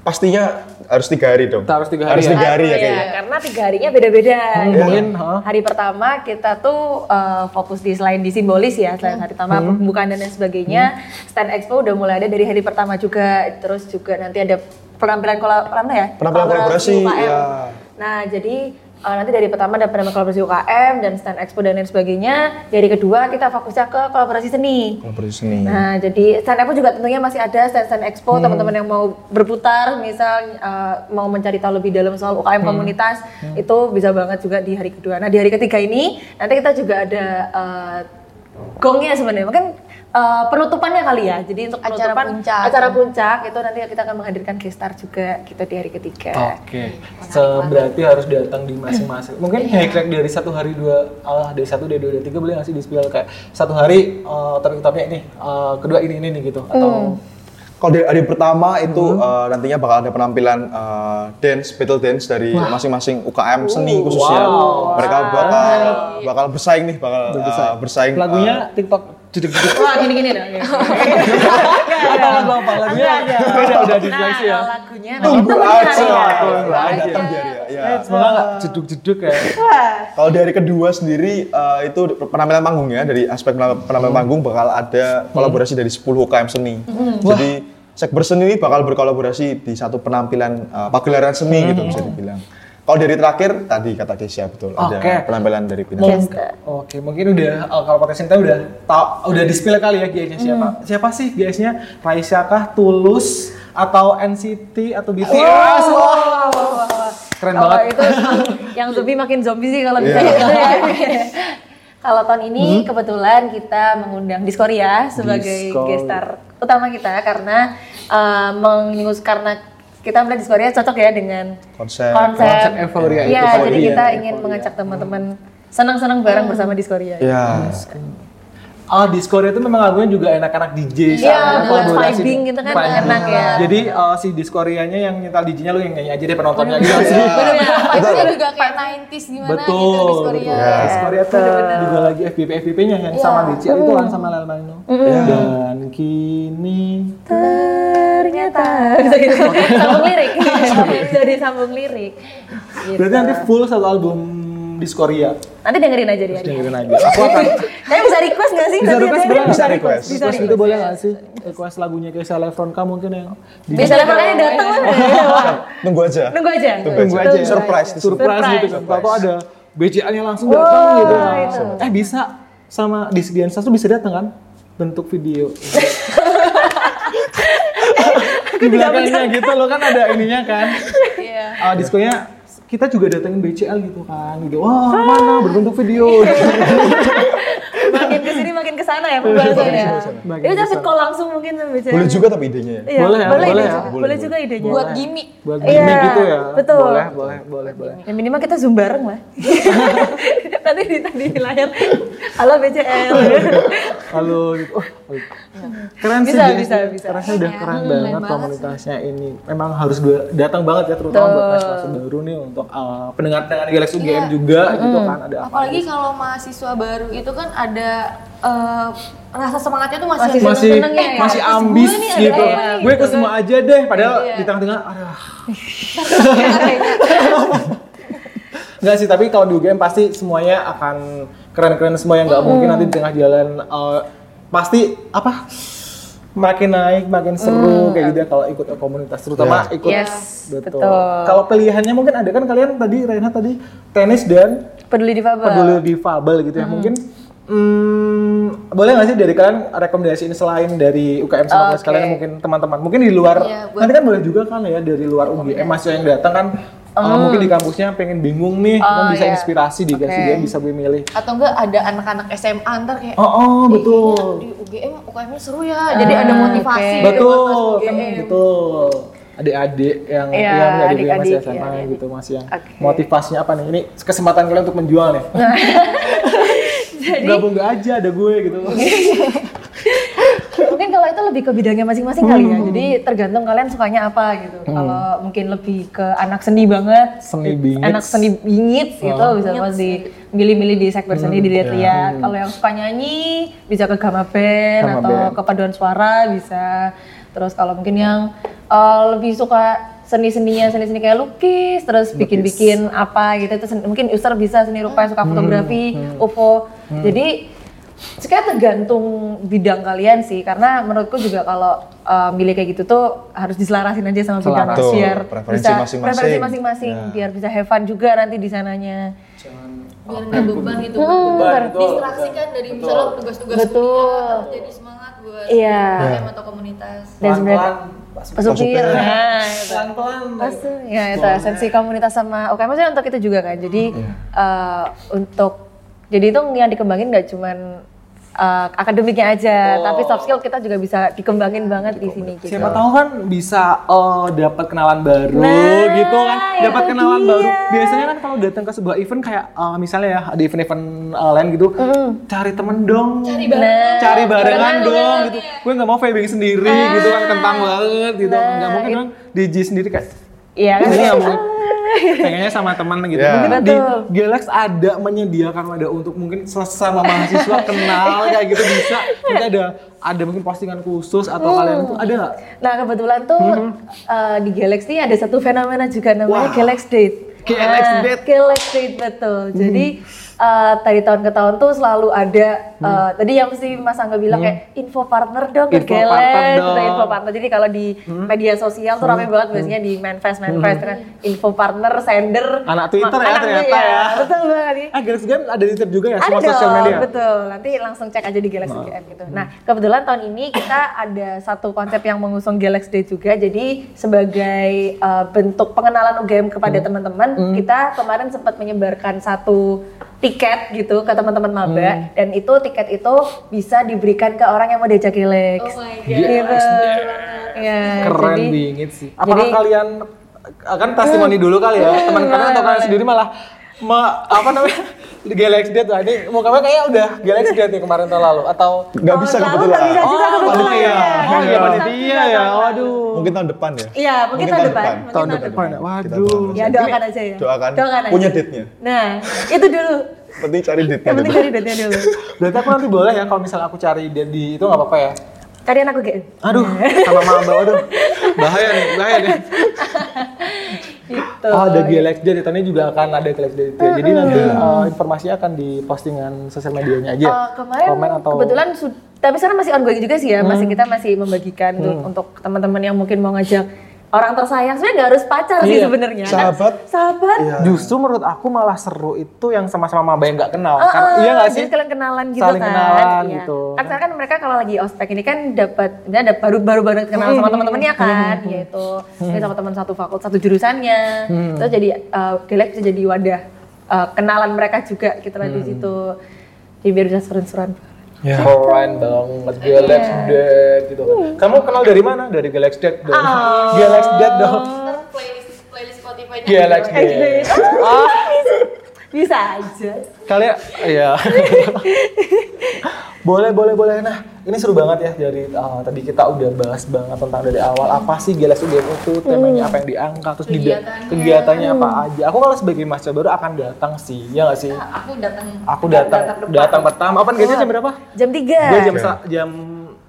Pastinya harus tiga hari dong.
Harus tiga hari
Harus
ya?
tiga hari ya
Iya,
kayaknya.
karena tiga harinya beda-beda. gitu.
mungkin, ha?
Hari pertama kita tuh uh, fokus di selain di simbolis ya, selain hari pertama pembukaan dan lain sebagainya. Stand Expo udah mulai ada dari hari pertama juga, terus juga nanti ada penampilan kolab, apa namanya ya?
Penampilan kolaborasi,
UKM.
ya.
Nah, jadi uh, nanti dari pertama ada penampilan kolaborasi UKM dan stand expo dan lain sebagainya. Dari kedua kita fokusnya ke kolaborasi seni.
Kolaborasi seni.
Nah, jadi stand expo juga tentunya masih ada stand-stand expo teman-teman yang mau berputar, misal eh, mau mencari tahu lebih dalam soal UKM komunitas itu bisa banget juga di hari kedua. Nah, di hari ketiga ini nanti kita juga ada eh, gongnya sebenarnya, mungkin eh, penutupannya kali ya. Jadi untuk
Acara
penutupan
puncak.
acara puncak itu nanti kita akan menghadirkan guest star juga gitu di hari ketiga.
Oke, Se- berarti harus datang di masing-masing. Mungkin highlight dari satu hari dua, ah dari satu, dari dua, dari tiga boleh nggak sih di spill kayak satu hari eh topik topiknya ini, eh, kedua ini ini nih gitu atau
Kalau dari hari pertama itu
Hmm.
eh, nantinya bakal ada penampilan eh, dance, battle dance dari masing-masing UKM seni khususnya.
Wow.
Mereka bakal bakal bersaing nih, bakal eh, bersaing. eh,
lagunya TikTok judek judek
Wah, gini-gini dong.
[laughs] atau lagu apa lagunya? Udah udah diseleksi ya.
Nah, lagunya
eh, tunggu
nanti
aja.
kita dengar.
Tunggu aja.
Datang dia, dia, ya.
Semoga nggak jeduk jeduk ya.
Kalau dari kedua sendiri eh, itu penampilan panggung ya dari aspek penamp- penampilan
Hmm.
panggung bakal ada kolaborasi dari 10 UKM seni. Jadi Sekber Seni ini bakal berkolaborasi di satu penampilan eh, pagelaran seni
Hmm.
gitu bisa dibilang. Kalau dari terakhir tadi kata Kesia betul
Oke.
ada penampilan dari Pinang.
Mungkin- Oke, mungkin udah eh, kalau podcast kita udah tau, udah di spill kali ya guys-nya siapa? Siapa sih guys-nya? Raisya kah, Tulus atau NCT atau Ah, BTS? Wah, Keren
Kalau
banget.
itu [laughs] yang zombie makin zombie sih kalau bisa
Iya.
gitu
[laughs]
ya. Kalau tahun ini
Mm-hmm.
kebetulan kita mengundang Diskoria sebagai
Disco.
guest star utama kita karena eh, mengus karena kita melihat Diskoria cocok ya dengan
Konsep.
konsep,
Konsep euforia itu
Iya,
tadi
jadi
ya,
kita ingin mengajak teman-teman senang-senang bareng bersama Diskoria.
Iya.
Ya.
Oh, di Discord itu memang lagunya juga enak-enak DJ
Iya,
sama
buat vibing gitu kan
Vibing.
enak ya.
Jadi eh, si Diskorianya yang nyetel DJ-nya lu yang nyanyi aja deh penontonnya gitu.
Bener ya, vibes-nya juga kayak 90s gimana gitu
Betul. Iya.
di Korea.
betul. Diskoria tuh juga lagi FBP FBP-nya yang sama DJ itu kan sama Lel Malino. Dan kini
Ternyata
[laughs]
bisa gitu. sambung [laughs] lirik. jadi sambung lirik. Gitu. Iya.
berarti nanti full satu album Diskoria.
Nanti dengerin aja dia.
Dengerin aja. Aku akan
[laughs] Tapi bisa request gak sih?
bisa
Nanti
request
ada-
boleh nggak?
Bisa request.
Bisa request itu boleh nggak sih? Request lagunya kayak Selefron kah mungkin ya. yang di
Bisa kalian datang lah.
Tunggu aja.
Nunggu aja. ya.
Tunggu aja.
Surprise.
surprise gitu kan. Tahu ada BCA-nya langsung datang gitu. Eh bisa sama di Dian Sastro bisa datang kan? Bentuk video. di belakangnya gitu loh kan ada ininya kan. Iya. diskonya kita juga datengin BCL gitu kan. Gitu. Wah, mana berbentuk video.
Makin kesini makin kesana ya pembahasannya.
Makin
Itu udah fit call langsung mungkin sama Beca.
Boleh juga tapi idenya ya.
Iya,
Boleh ya,
boleh,
boleh
ide
ya.
juga. boleh juga idenya.
Buat gimmick.
Buat gini
Iya,
gitu ya.
betul.
Boleh, boleh, boleh, boleh.
Ya minimal kita zoom bareng lah. Nanti di tadi di layar. Halo BCL.
Halo, gitu. Oh, oh. keren sih
Bisa,
dia.
bisa, bisa.
Karena udah Iya. Hmm, keren banget komunitasnya ini. Memang harus dua- datang banget ya terutama buat mahasiswa baru nih untuk uh, pendengar-pendengar Galaxy
Iya.
UGM juga gitu
Hmm.
kan ada apa.
Apalagi kalau mahasiswa baru itu kan ada eh, rasa semangatnya tuh masih, ada
masih
seneng-senengnya ya.
masih
Terus
ambis
gue nih ada
gitu.
apa nih,
Gue ke
gitu
semua
kan.
aja
[laughs]
deh padahal di tengah-tengah ada
Kayaknya.
Enggak sih, tapi kalau di UGM pasti semuanya akan keren-keren semua yang nggak
Hmm.
mungkin nanti di tengah jalan eh, pasti apa? Makin naik, makin seru kayak gitu ya kalau ikut komunitas, terutama ikut
Hmm. Iya. Yes,
betul.
betul.
Kalau pilihannya mungkin ada kan kalian tadi Reinhard tadi tenis dan
Peduli difabel.
peduli difabel gitu ya mungkin hmm, boleh nggak sih dari kalian rekomendasiin selain dari UKM sama kelas
Oke.
kalian mungkin teman-teman mungkin di luar
Iya, buat-
nanti kan boleh juga kan ya dari luar UGM masih yang datang kan eh, mungkin di kampusnya pengen bingung nih kan
Hmm. Oh,
bisa
iya.
inspirasi dikasih
Oke.
dia bisa memilih
Atau enggak ada anak-anak SMA ntar kayak
oh oh
"Ih,
betul Ah,
ini di UGM UKM-nya seru ya. Jadi ada motivasi gitu
betul
buat masuk
kan
UGM.
betul adik-adik yang
Iya,
yang nggak di UGM masih
adik-adik,
SMA
iya, adik-adik.
gitu masih yang
Oke.
motivasinya apa nih ini kesempatan kalian untuk menjual
[laughs]
nih gabung nggak aja ada gue gitu
[laughs]
mungkin kalau itu lebih ke bidangnya masing-masing kali ya. Jadi tergantung kalian sukanya apa gitu. Kalau mungkin lebih ke anak seni banget,
Seni bingits.
anak seni bingit gitu bisa pasti milih-milih di sektor seni dilihat-lihat. Kalau yang suka nyanyi bisa ke gama band
Gama
atau
band.
ke paduan suara bisa. Terus kalau mungkin yang eh, lebih suka seni-seninya seni-seni kayak lukis, terus bikin-bikin apa gitu itu sen- mungkin user bisa seni rupa suka fotografi, UFO. Jadi Sekarang tergantung bidang kalian sih, karena menurutku juga kalau uh, milih kayak gitu tuh harus diselarasin aja sama
Selaras.
bidang
Betul,
biar
preferensi
bisa
masing-masing.
preferensi masing-masing,
Ya.
biar bisa have fun juga nanti di sananya.
biar nggak beban gitu distraksi kan dari misalnya tugas-tugas
Betul.
kuliah terus jadi semangat buat
Iya.
UKM atau komunitas
Iya.
Dan sebenarnya pesupir.
Pesupir.
Nah, itu.
pelan-pelan
Pasti, ya itu esensi komunitas sama UKM maksudnya untuk itu juga kan. Jadi eh, untuk jadi itu yang dikembangin nggak cuman eh, akademiknya aja, tapi soft skill kita juga bisa dikembangin banget di sini gitu.
Siapa tahu kan bisa eh, dapat kenalan baru
Nah,
gitu kan,
itu
dapat kenalan
dia.
baru. Biasanya kan kalau datang ke sebuah event kayak eh, misalnya ya ada event-event eh, lain gitu, cari temen dong, cari
barengan.
barengan
Barengan,
dong
barengan,
gitu. Gue nggak mau vibing sendiri gitu kan, kentang banget gitu.
Ah, Nah,
Nggak mungkin
it-
dong DJ sendiri kayak
Iya kan?
ini nggak mungkin.
[laughs]
Pengennya sama teman gitu.
Ya.
Mungkin di
Betul.
Galax ada menyediakan wadah untuk mungkin sesama mahasiswa kenal kayak gitu bisa. Nanti ada ada mungkin postingan khusus atau
Hmm.
kalian tuh ada nggak?
Nah kebetulan tuh eh, di Galaxy ini ada satu fenomena juga namanya
Hmm. Wah.
Galax Date.
Galax Date. Hmm.
Galax Date betul. Jadi eh, dari tahun ke tahun tuh selalu ada.
Hmm.
eh, Tadi yang mesti Mas Angga bilang kayak info partner dong ke
Info partner
Galax.
dong. Hmm.
Kita info partner. Jadi kalau di media sosial tuh rame banget biasanya di manifest manifest kan info partner sender.
Anak Twitter ya
Anak
ternyata
Twitter, iya,
ya.
Betul banget.
Ah, Galaxy Game ada di Twitter juga ya,
Ada
semua sosial
dong,
media.
betul. Nanti langsung cek aja di Galaxy GM gitu. Nah, kebetulan tahun ini kita ada satu konsep yang mengusung Galaxy Day juga. Jadi sebagai uh, bentuk pengenalan UGM kepada
Hmm.
teman-teman, kita kemarin sempat menyebarkan satu tiket gitu ke teman-teman maba
Hmm.
dan itu tiket itu bisa diberikan ke orang yang mau diajak Galaxy.
Oh my
Gitu. Ya,
Keren
jadi-
banget sih. Apakah
jadi- Hmm.
kalian akan testimoni dulu kali ya teman kalian atau kalian sendiri malah me- apa namanya di Galaxy Date lah ini mukanya kayaknya udah Galaxy Date nih kemarin tahun lalu atau
Nggak bisa
Tahun lalu
kebetulan.
nggak bisa juga
Oh,
kebetulan
panitia.
ya.
Oh, iya,
Iya.
panitia ya. Waduh.
Mungkin tahun depan ya.
Iya, mungkin tahun depan. Mungkin
Tahun depan.
Kita
Waduh.
doakan
Ya
saja.
doakan aja ya.
Doakan.
Doakan aja. Iya,
Punya date-nya.
Nah, itu dulu.
Penting cari date-nya.
Yang penting
dulu.
cari date-nya dulu.
Berarti aku nanti boleh ya kalau misalnya aku cari dia di itu nggak apa-apa ya?
Kalian aku GM.
Aduh, sama mama aduh. Bahaya nih, bahaya
[laughs]
nih.
Gitu.
Oh, ada GLX Date, tahun ini juga akan ada GLX Date. ya. Jadi nanti eh, informasinya akan di postingan sosial medianya
Iya.
aja.
Eh, kemarin
Komen atau
kebetulan su- tapi sekarang masih ongoing juga sih ya, masih
Hmm.
kita masih membagikan tuh untuk teman-teman yang mungkin mau ngajak orang tersayang. Sebenarnya nggak harus pacar sih
Iya.
sebenarnya. Kan?
Sahabat.
Sahabat.
Justru menurut aku malah seru itu yang sama-sama maba yang nggak kenal. Karena
Eh,
iya nggak sih?
Jadi kalian kenalan gitu
Saling
kan.
kenalan
Iya.
gitu.
Kan sekarang kan mereka kalau lagi ospek ini kan dapat ya dapat baru baru baru kenal sama teman-temannya kan, yaitu ya sama teman satu fakultas satu jurusannya. Terus jadi eh Galax bisa jadi wadah eh, kenalan mereka juga gitu lah di situ. Jadi biar bisa seru-seruan.
Iya. Keren banget
Iya.
GLX Date gitu. kan. Kamu kenal dari mana? Dari GLX Date dong.
Oh.
GLX Date dong.
Ntar playlist playlist
Iya.
Spotify-nya
GLX Date. Ah,
Bisa aja.
kalian iya. [laughs] boleh boleh boleh nah ini seru banget ya dari uh, tadi kita udah bahas banget tentang dari awal apa sih Galax Game itu
Hmm.
temanya apa yang diangkat terus kegiatannya, kegiatannya apa aja aku kalau sebagai mahasiswa baru akan datang sih ya nggak sih
aku datang
aku datang datang pertama apa gajinya Iya, jam berapa
Jam 3.
Gue jam sa- jam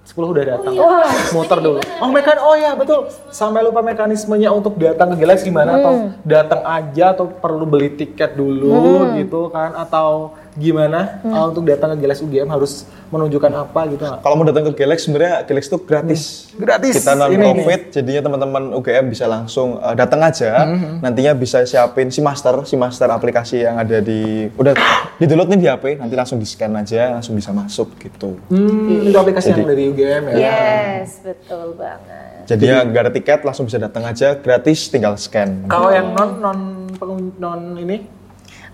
10 udah datang.
Wah.
Motor dulu. Oh, mekan oh ya betul. Sampai lupa mekanismenya untuk datang ke Galax gimana atau datang aja atau perlu beli tiket dulu gitu kan atau gimana uh, untuk datang ke Galax UGM harus menunjukkan apa gitu nggak?
Kalau mau datang ke Galax sebenarnya Galax tuh gratis.
Hmm. Gratis.
Kita non
Ini
profit, jadinya teman-teman UGM bisa langsung eh, datang aja.
Hmm.
Nantinya bisa siapin si master, si master aplikasi yang ada di udah di download nih di HP, nanti langsung di scan aja, langsung bisa masuk gitu.
Hmm, itu aplikasi yang dari UGM ya.
Iya. Yes, betul banget.
Jadinya nggak ada tiket, langsung bisa datang aja, gratis, tinggal scan.
Kalau yang non non pengun- non ini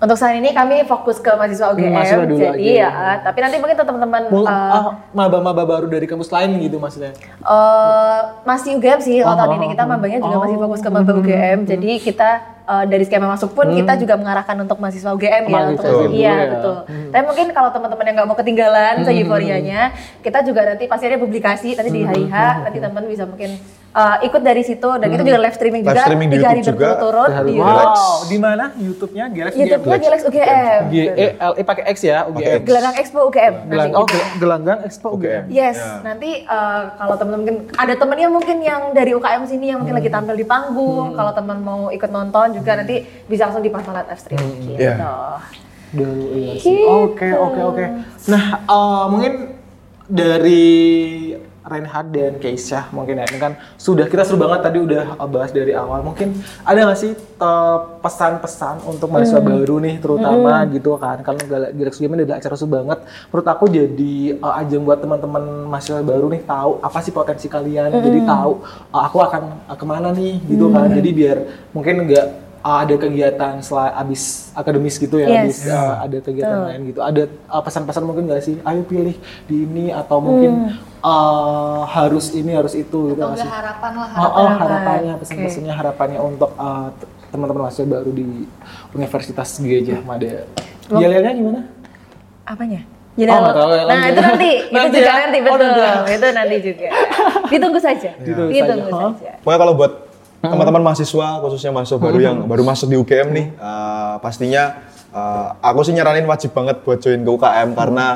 Untuk saat ini kami fokus ke mahasiswa
Mm,
UGM,
Mahasiswa dulu
jadi
aja.
ya. Tapi nanti mungkin teman-teman
mul-
eh,
ah, maba-maba baru dari kampus lain gitu maksudnya.
eh, masih UGM sih kalau tahun
Oh,
ini kita mabanya juga masih
oh. Hmm.
fokus ke maba UGM. Jadi kita eh, dari skema masuk pun kita juga mengarahkan untuk mahasiswa UGM ya,
Mahasiswa
untuk
dulu
iya
ya.
betul. Tapi mungkin kalau teman-teman yang nggak mau ketinggalan
Hmm.
se euforianya, kita juga nanti pasti ada publikasi nanti di
Hmm.
hari H, nanti teman-teman bisa mungkin eh, ikut dari situ dan
Hmm.
kita juga live streaming
Live
juga
streaming di
tiga hari
YouTube juga.
berturut-turut di
Relax.
Wow, di mana YouTube-nya Galax UGM?
YouTube-nya Galax UGM.
G E L E pakai X ya UGM.
Gelanggang Expo UGM. nanti
Gelang, oh, gel- gelanggang Expo UGM.
Yes, nanti eh, kalau teman-teman mungkin ada temennya mungkin yang dari UKM sini yang mungkin lagi tampil di panggung, kalau teman mau ikut nonton juga nanti bisa langsung dipantau live stream gitu.
Iya.
Dulu iya sih. Oke, oke, oke. Nah, eh, mungkin dari Reinhard dan Keisha mungkin ya ini kan sudah kita seru banget tadi udah bahas dari awal mungkin ada nggak sih eh, pesan-pesan untuk mahasiswa baru nih terutama gitu kan kalau Gal- Galax Game ini adalah acara seru banget menurut aku jadi eh, ajang buat teman-teman mahasiswa baru nih tahu apa sih potensi kalian jadi tahu eh, aku akan eh, kemana nih gitu kan jadi biar mungkin nggak eh, ada kegiatan setelah abis akademis gitu ya
Yes.
abis eh,
Ah.
ada kegiatan lain gitu. Ada uh, pesan-pesan mungkin nggak sih? Ayo pilih di ini atau
Hmm.
mungkin uh, harus ini harus itu gitu
atau
nggak
enggak
sih?
harapan lah
Oh,
harapan
oh, harapannya pesan-pesannya harapannya untuk uh, t- teman-teman mahasiswa baru di Universitas Gajah Mada. Jalannya gimana?
Apanya?
Oh, nggak tahu ya,
nah
lanjut.
itu nanti, itu
Nanti
juga
ya?
nanti
Oh,
betul,
nanti.
itu nanti
[laughs]
juga. Ditunggu saja,
Ditunggu
ditunggu
saja.
saja.
Pokoknya kalau buat teman-teman mahasiswa khususnya mahasiswa baru yang baru masuk di UGM nih, eh, pastinya eh, aku sih nyaranin wajib banget buat join ke UKM karena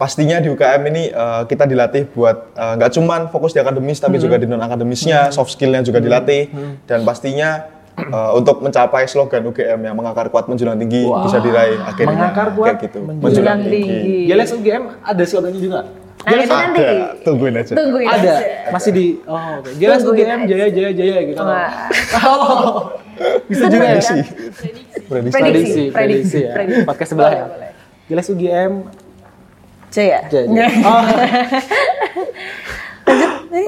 pastinya di UKM ini eh, kita dilatih buat eh, nggak cuman fokus di akademis tapi juga di non akademisnya, soft skillnya juga dilatih dan pastinya eh, untuk mencapai slogan UGM yang mengakar kuat menjulang tinggi bisa diraih akhirnya
Mengakar kuat,
Kayak gitu.
menjulang
menjulang
tinggi.
tinggi.
Galax UGM ada slogannya juga.
Nah itu nanti, ya.
Ada, tungguin aja.
tungguin
Ada,
aja.
masih di oh oke. Galax
Tungguin
UGM
Iya. aja.
jaya jaya jaya gitu.
Wah.
Oh. Bisa juga ya.
Prediksi. Prediksi.
Prediksi.
Prediksi, prediksi ya.
Prediksi.
Podcast sebelah
Boleh,
ya.
boleh.
Galax UGM
Jaya.
Jadi. Oh.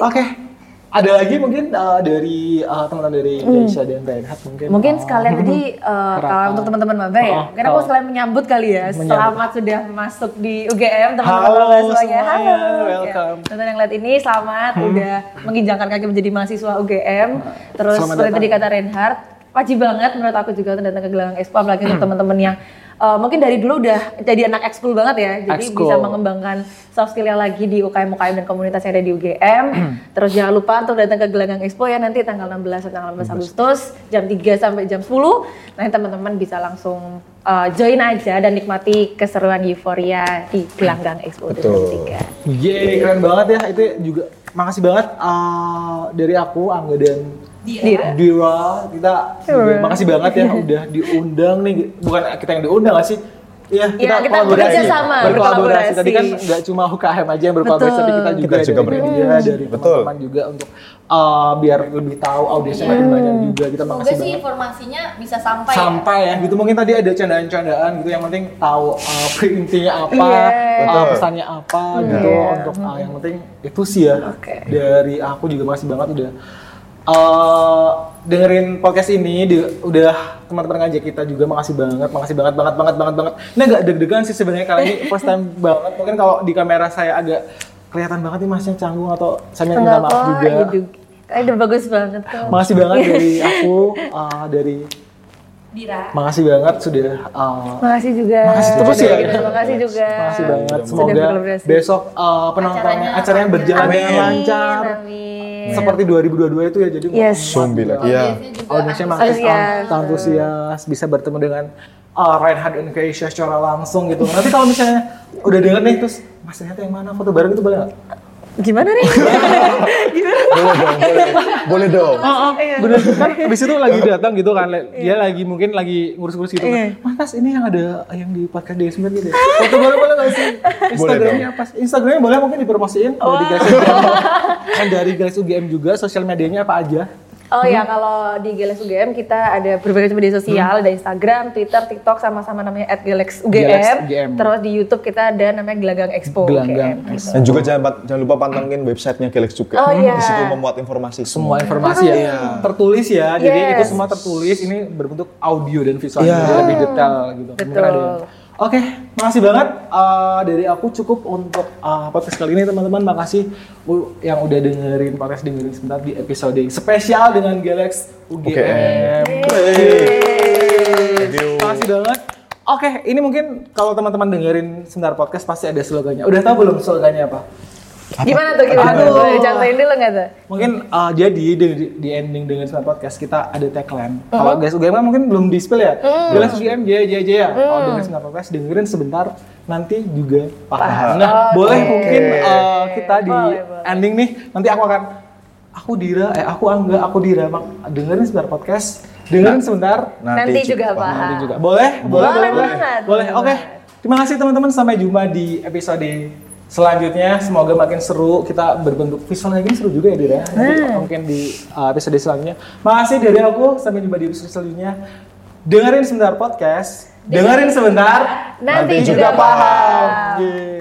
Oke. Ada lagi mungkin uh, dari uh, teman-teman dari Indonesia dan Reinhardt mungkin.
Hmm. Mungkin
uh,
sekalian
[laughs]
tadi eh, kalau untuk teman-teman maba ya,
Oh,
mungkin aku
oh.
sekalian menyambut kali ya.
Menyambut.
Selamat sudah masuk di UGM teman-teman
Halo
maba semuanya.
semuanya,
Ya,
welcome. Hmm.
Teman-teman yang lihat ini selamat udah menginjangkan kaki menjadi mahasiswa UGM. Terus
Selamat
seperti
datang.
tadi kata Reinhardt, wajib banget menurut aku juga untuk datang ke gelanggang Expo apalagi
Hmm.
untuk teman-teman yang eh, mungkin dari dulu udah jadi anak ekskul banget ya, jadi
Ekskul.
bisa mengembangkan soft skillnya lagi di UKM UKM dan komunitas yang ada di UGM.
[clears throat]
Terus jangan lupa untuk datang ke gelanggang Expo ya nanti tanggal 16 sampai tanggal 16 Agustus jam 3 sampai jam 10. Nanti teman-teman bisa langsung eh, join aja dan nikmati keseruan euforia di gelanggang Expo
Betul.
2023.
Yeay, keren banget ya. Itu juga makasih banget uh, dari aku Angga dan
Dira. Iya.
Dira. Kita juga makasih banget
[laughs]
ya udah diundang nih. Bukan kita yang diundang gak sih? Iya,
Iya, kita bekerja
berkolaborasi.
sama, berkolaborasi.
Tadi kan nggak cuma UKM aja yang berkolaborasi,
Betul.
tapi kita juga,
Kita juga
dari
ber-
media, dari
Betul.
teman-teman juga untuk uh, biar lebih tahu audiensnya makin
Hmm.
banyak juga. Kita
Semoga
makasih
sih
banget
informasinya bisa sampai. ya.
sampai ya gitu mungkin tadi ada candaan-candaan gitu yang penting tahu uh, intinya apa
Iya.
uh,
Betul.
pesannya apa gitu untuk uh, yang penting itu sih ya dari aku juga masih banget udah uh, dengerin podcast ini di- udah teman-teman ngajak kita juga makasih banget makasih banget banget banget banget banget nah nggak deg-degan sih sebenarnya kali ini first time banget mungkin kalau di kamera saya agak kelihatan banget nih masnya canggung atau saya minta
Enggak
maaf
kok,
juga
hidup. Kayaknya Iya Eh, udah bagus banget kok.
makasih banget dari aku uh, dari
Dira.
Makasih banget sudah uh,
Makasih juga.
Makasih terus ya.
Terima kasih juga.
makasih banget.
Iya. Sudah
Semoga
berkolaborasi.
besok uh, penontonnya acaranya, berjalan dengan
Amin,
lancar
Amin.
seperti 2022 itu ya jadi
Yes. Iya.
Zombie lagi. Iya.
audiensnya makin
Antusias.
an- antusias bisa bertemu dengan uh, Reinhard dan Keisha secara langsung gitu. Nanti kalau misalnya udah denger nih terus Mas Reinhard yang mana foto bareng itu boleh nggak?
Gimana
[laughs]
nih? Gimana?
Boleh dong, boleh. Boleh dong.
Oh, oh,
Iya.
bener kan abis itu lagi datang gitu kan Le- dia lagi mungkin lagi ngurus-ngurus gitu kan
Iya.
mas Tas, ini yang ada yang di podcast DS Mint gitu ya foto boleh boleh nggak sih Instagramnya apa sih? Instagramnya boleh mungkin dipromosiin dari guys UGM kan dari guys UGM juga sosial medianya apa aja
Oh ya, kalau di Galax UGM kita ada berbagai macam media sosial, ada Instagram, Twitter, TikTok sama-sama namanya
Galax UGM.
@galaxugm. Terus di YouTube kita ada namanya Gelanggang Expo.
gelanggang
UGM.
Dan juga jangan, jangan lupa pantengin websitenya Galax juga.
Oh, iya.
Di situ memuat informasi
semua informasi ya tertulis ya jadi itu semua tertulis ini berbentuk audio dan visual
Iya.
jadi lebih detail gitu Mungkin ada yang- Oke, makasih banget eh, dari aku cukup untuk eh, podcast kali ini teman-teman. Makasih u- yang udah dengerin podcast dengerin sebentar di episode spesial dengan Galax UGM. Yeay. Makasih banget. Oke, ini mungkin kalau teman-teman dengerin sebentar podcast pasti ada slogannya. Udah tahu belum slogannya apa?
Gimana tuh? Gimana
Aduh.
tuh? Contohin dulu nggak tuh?
Mungkin eh, jadi di, di ending dengan sebentar podcast kita ada tagline. Kalau guys UGM kan mungkin belum di-spill ya. Galax UGM jaya jaya jaya. Kalau dengerin sebentar podcast dengerin sebentar nanti juga paham. Nah, boleh mungkin eh, kita di ending nih. Nanti aku akan aku Dira eh aku Angga, aku Dira Mak- dengerin sebentar podcast, dengerin sebentar
Nanti juga
nanti
paham.
juga. Boleh? Boleh, boleh. Boleh.
banget.
Boleh. Oke. Terima kasih teman-teman sampai jumpa di episode selanjutnya. Semoga makin seru. Kita berbentuk visualnya gini seru juga ya, Dira. Nanti mungkin di uh, episode selanjutnya. Makasih dari aku sampai jumpa di episode selanjutnya. Dengerin sebentar podcast, dengerin sebentar,
Nanti juga paham.
Yeay.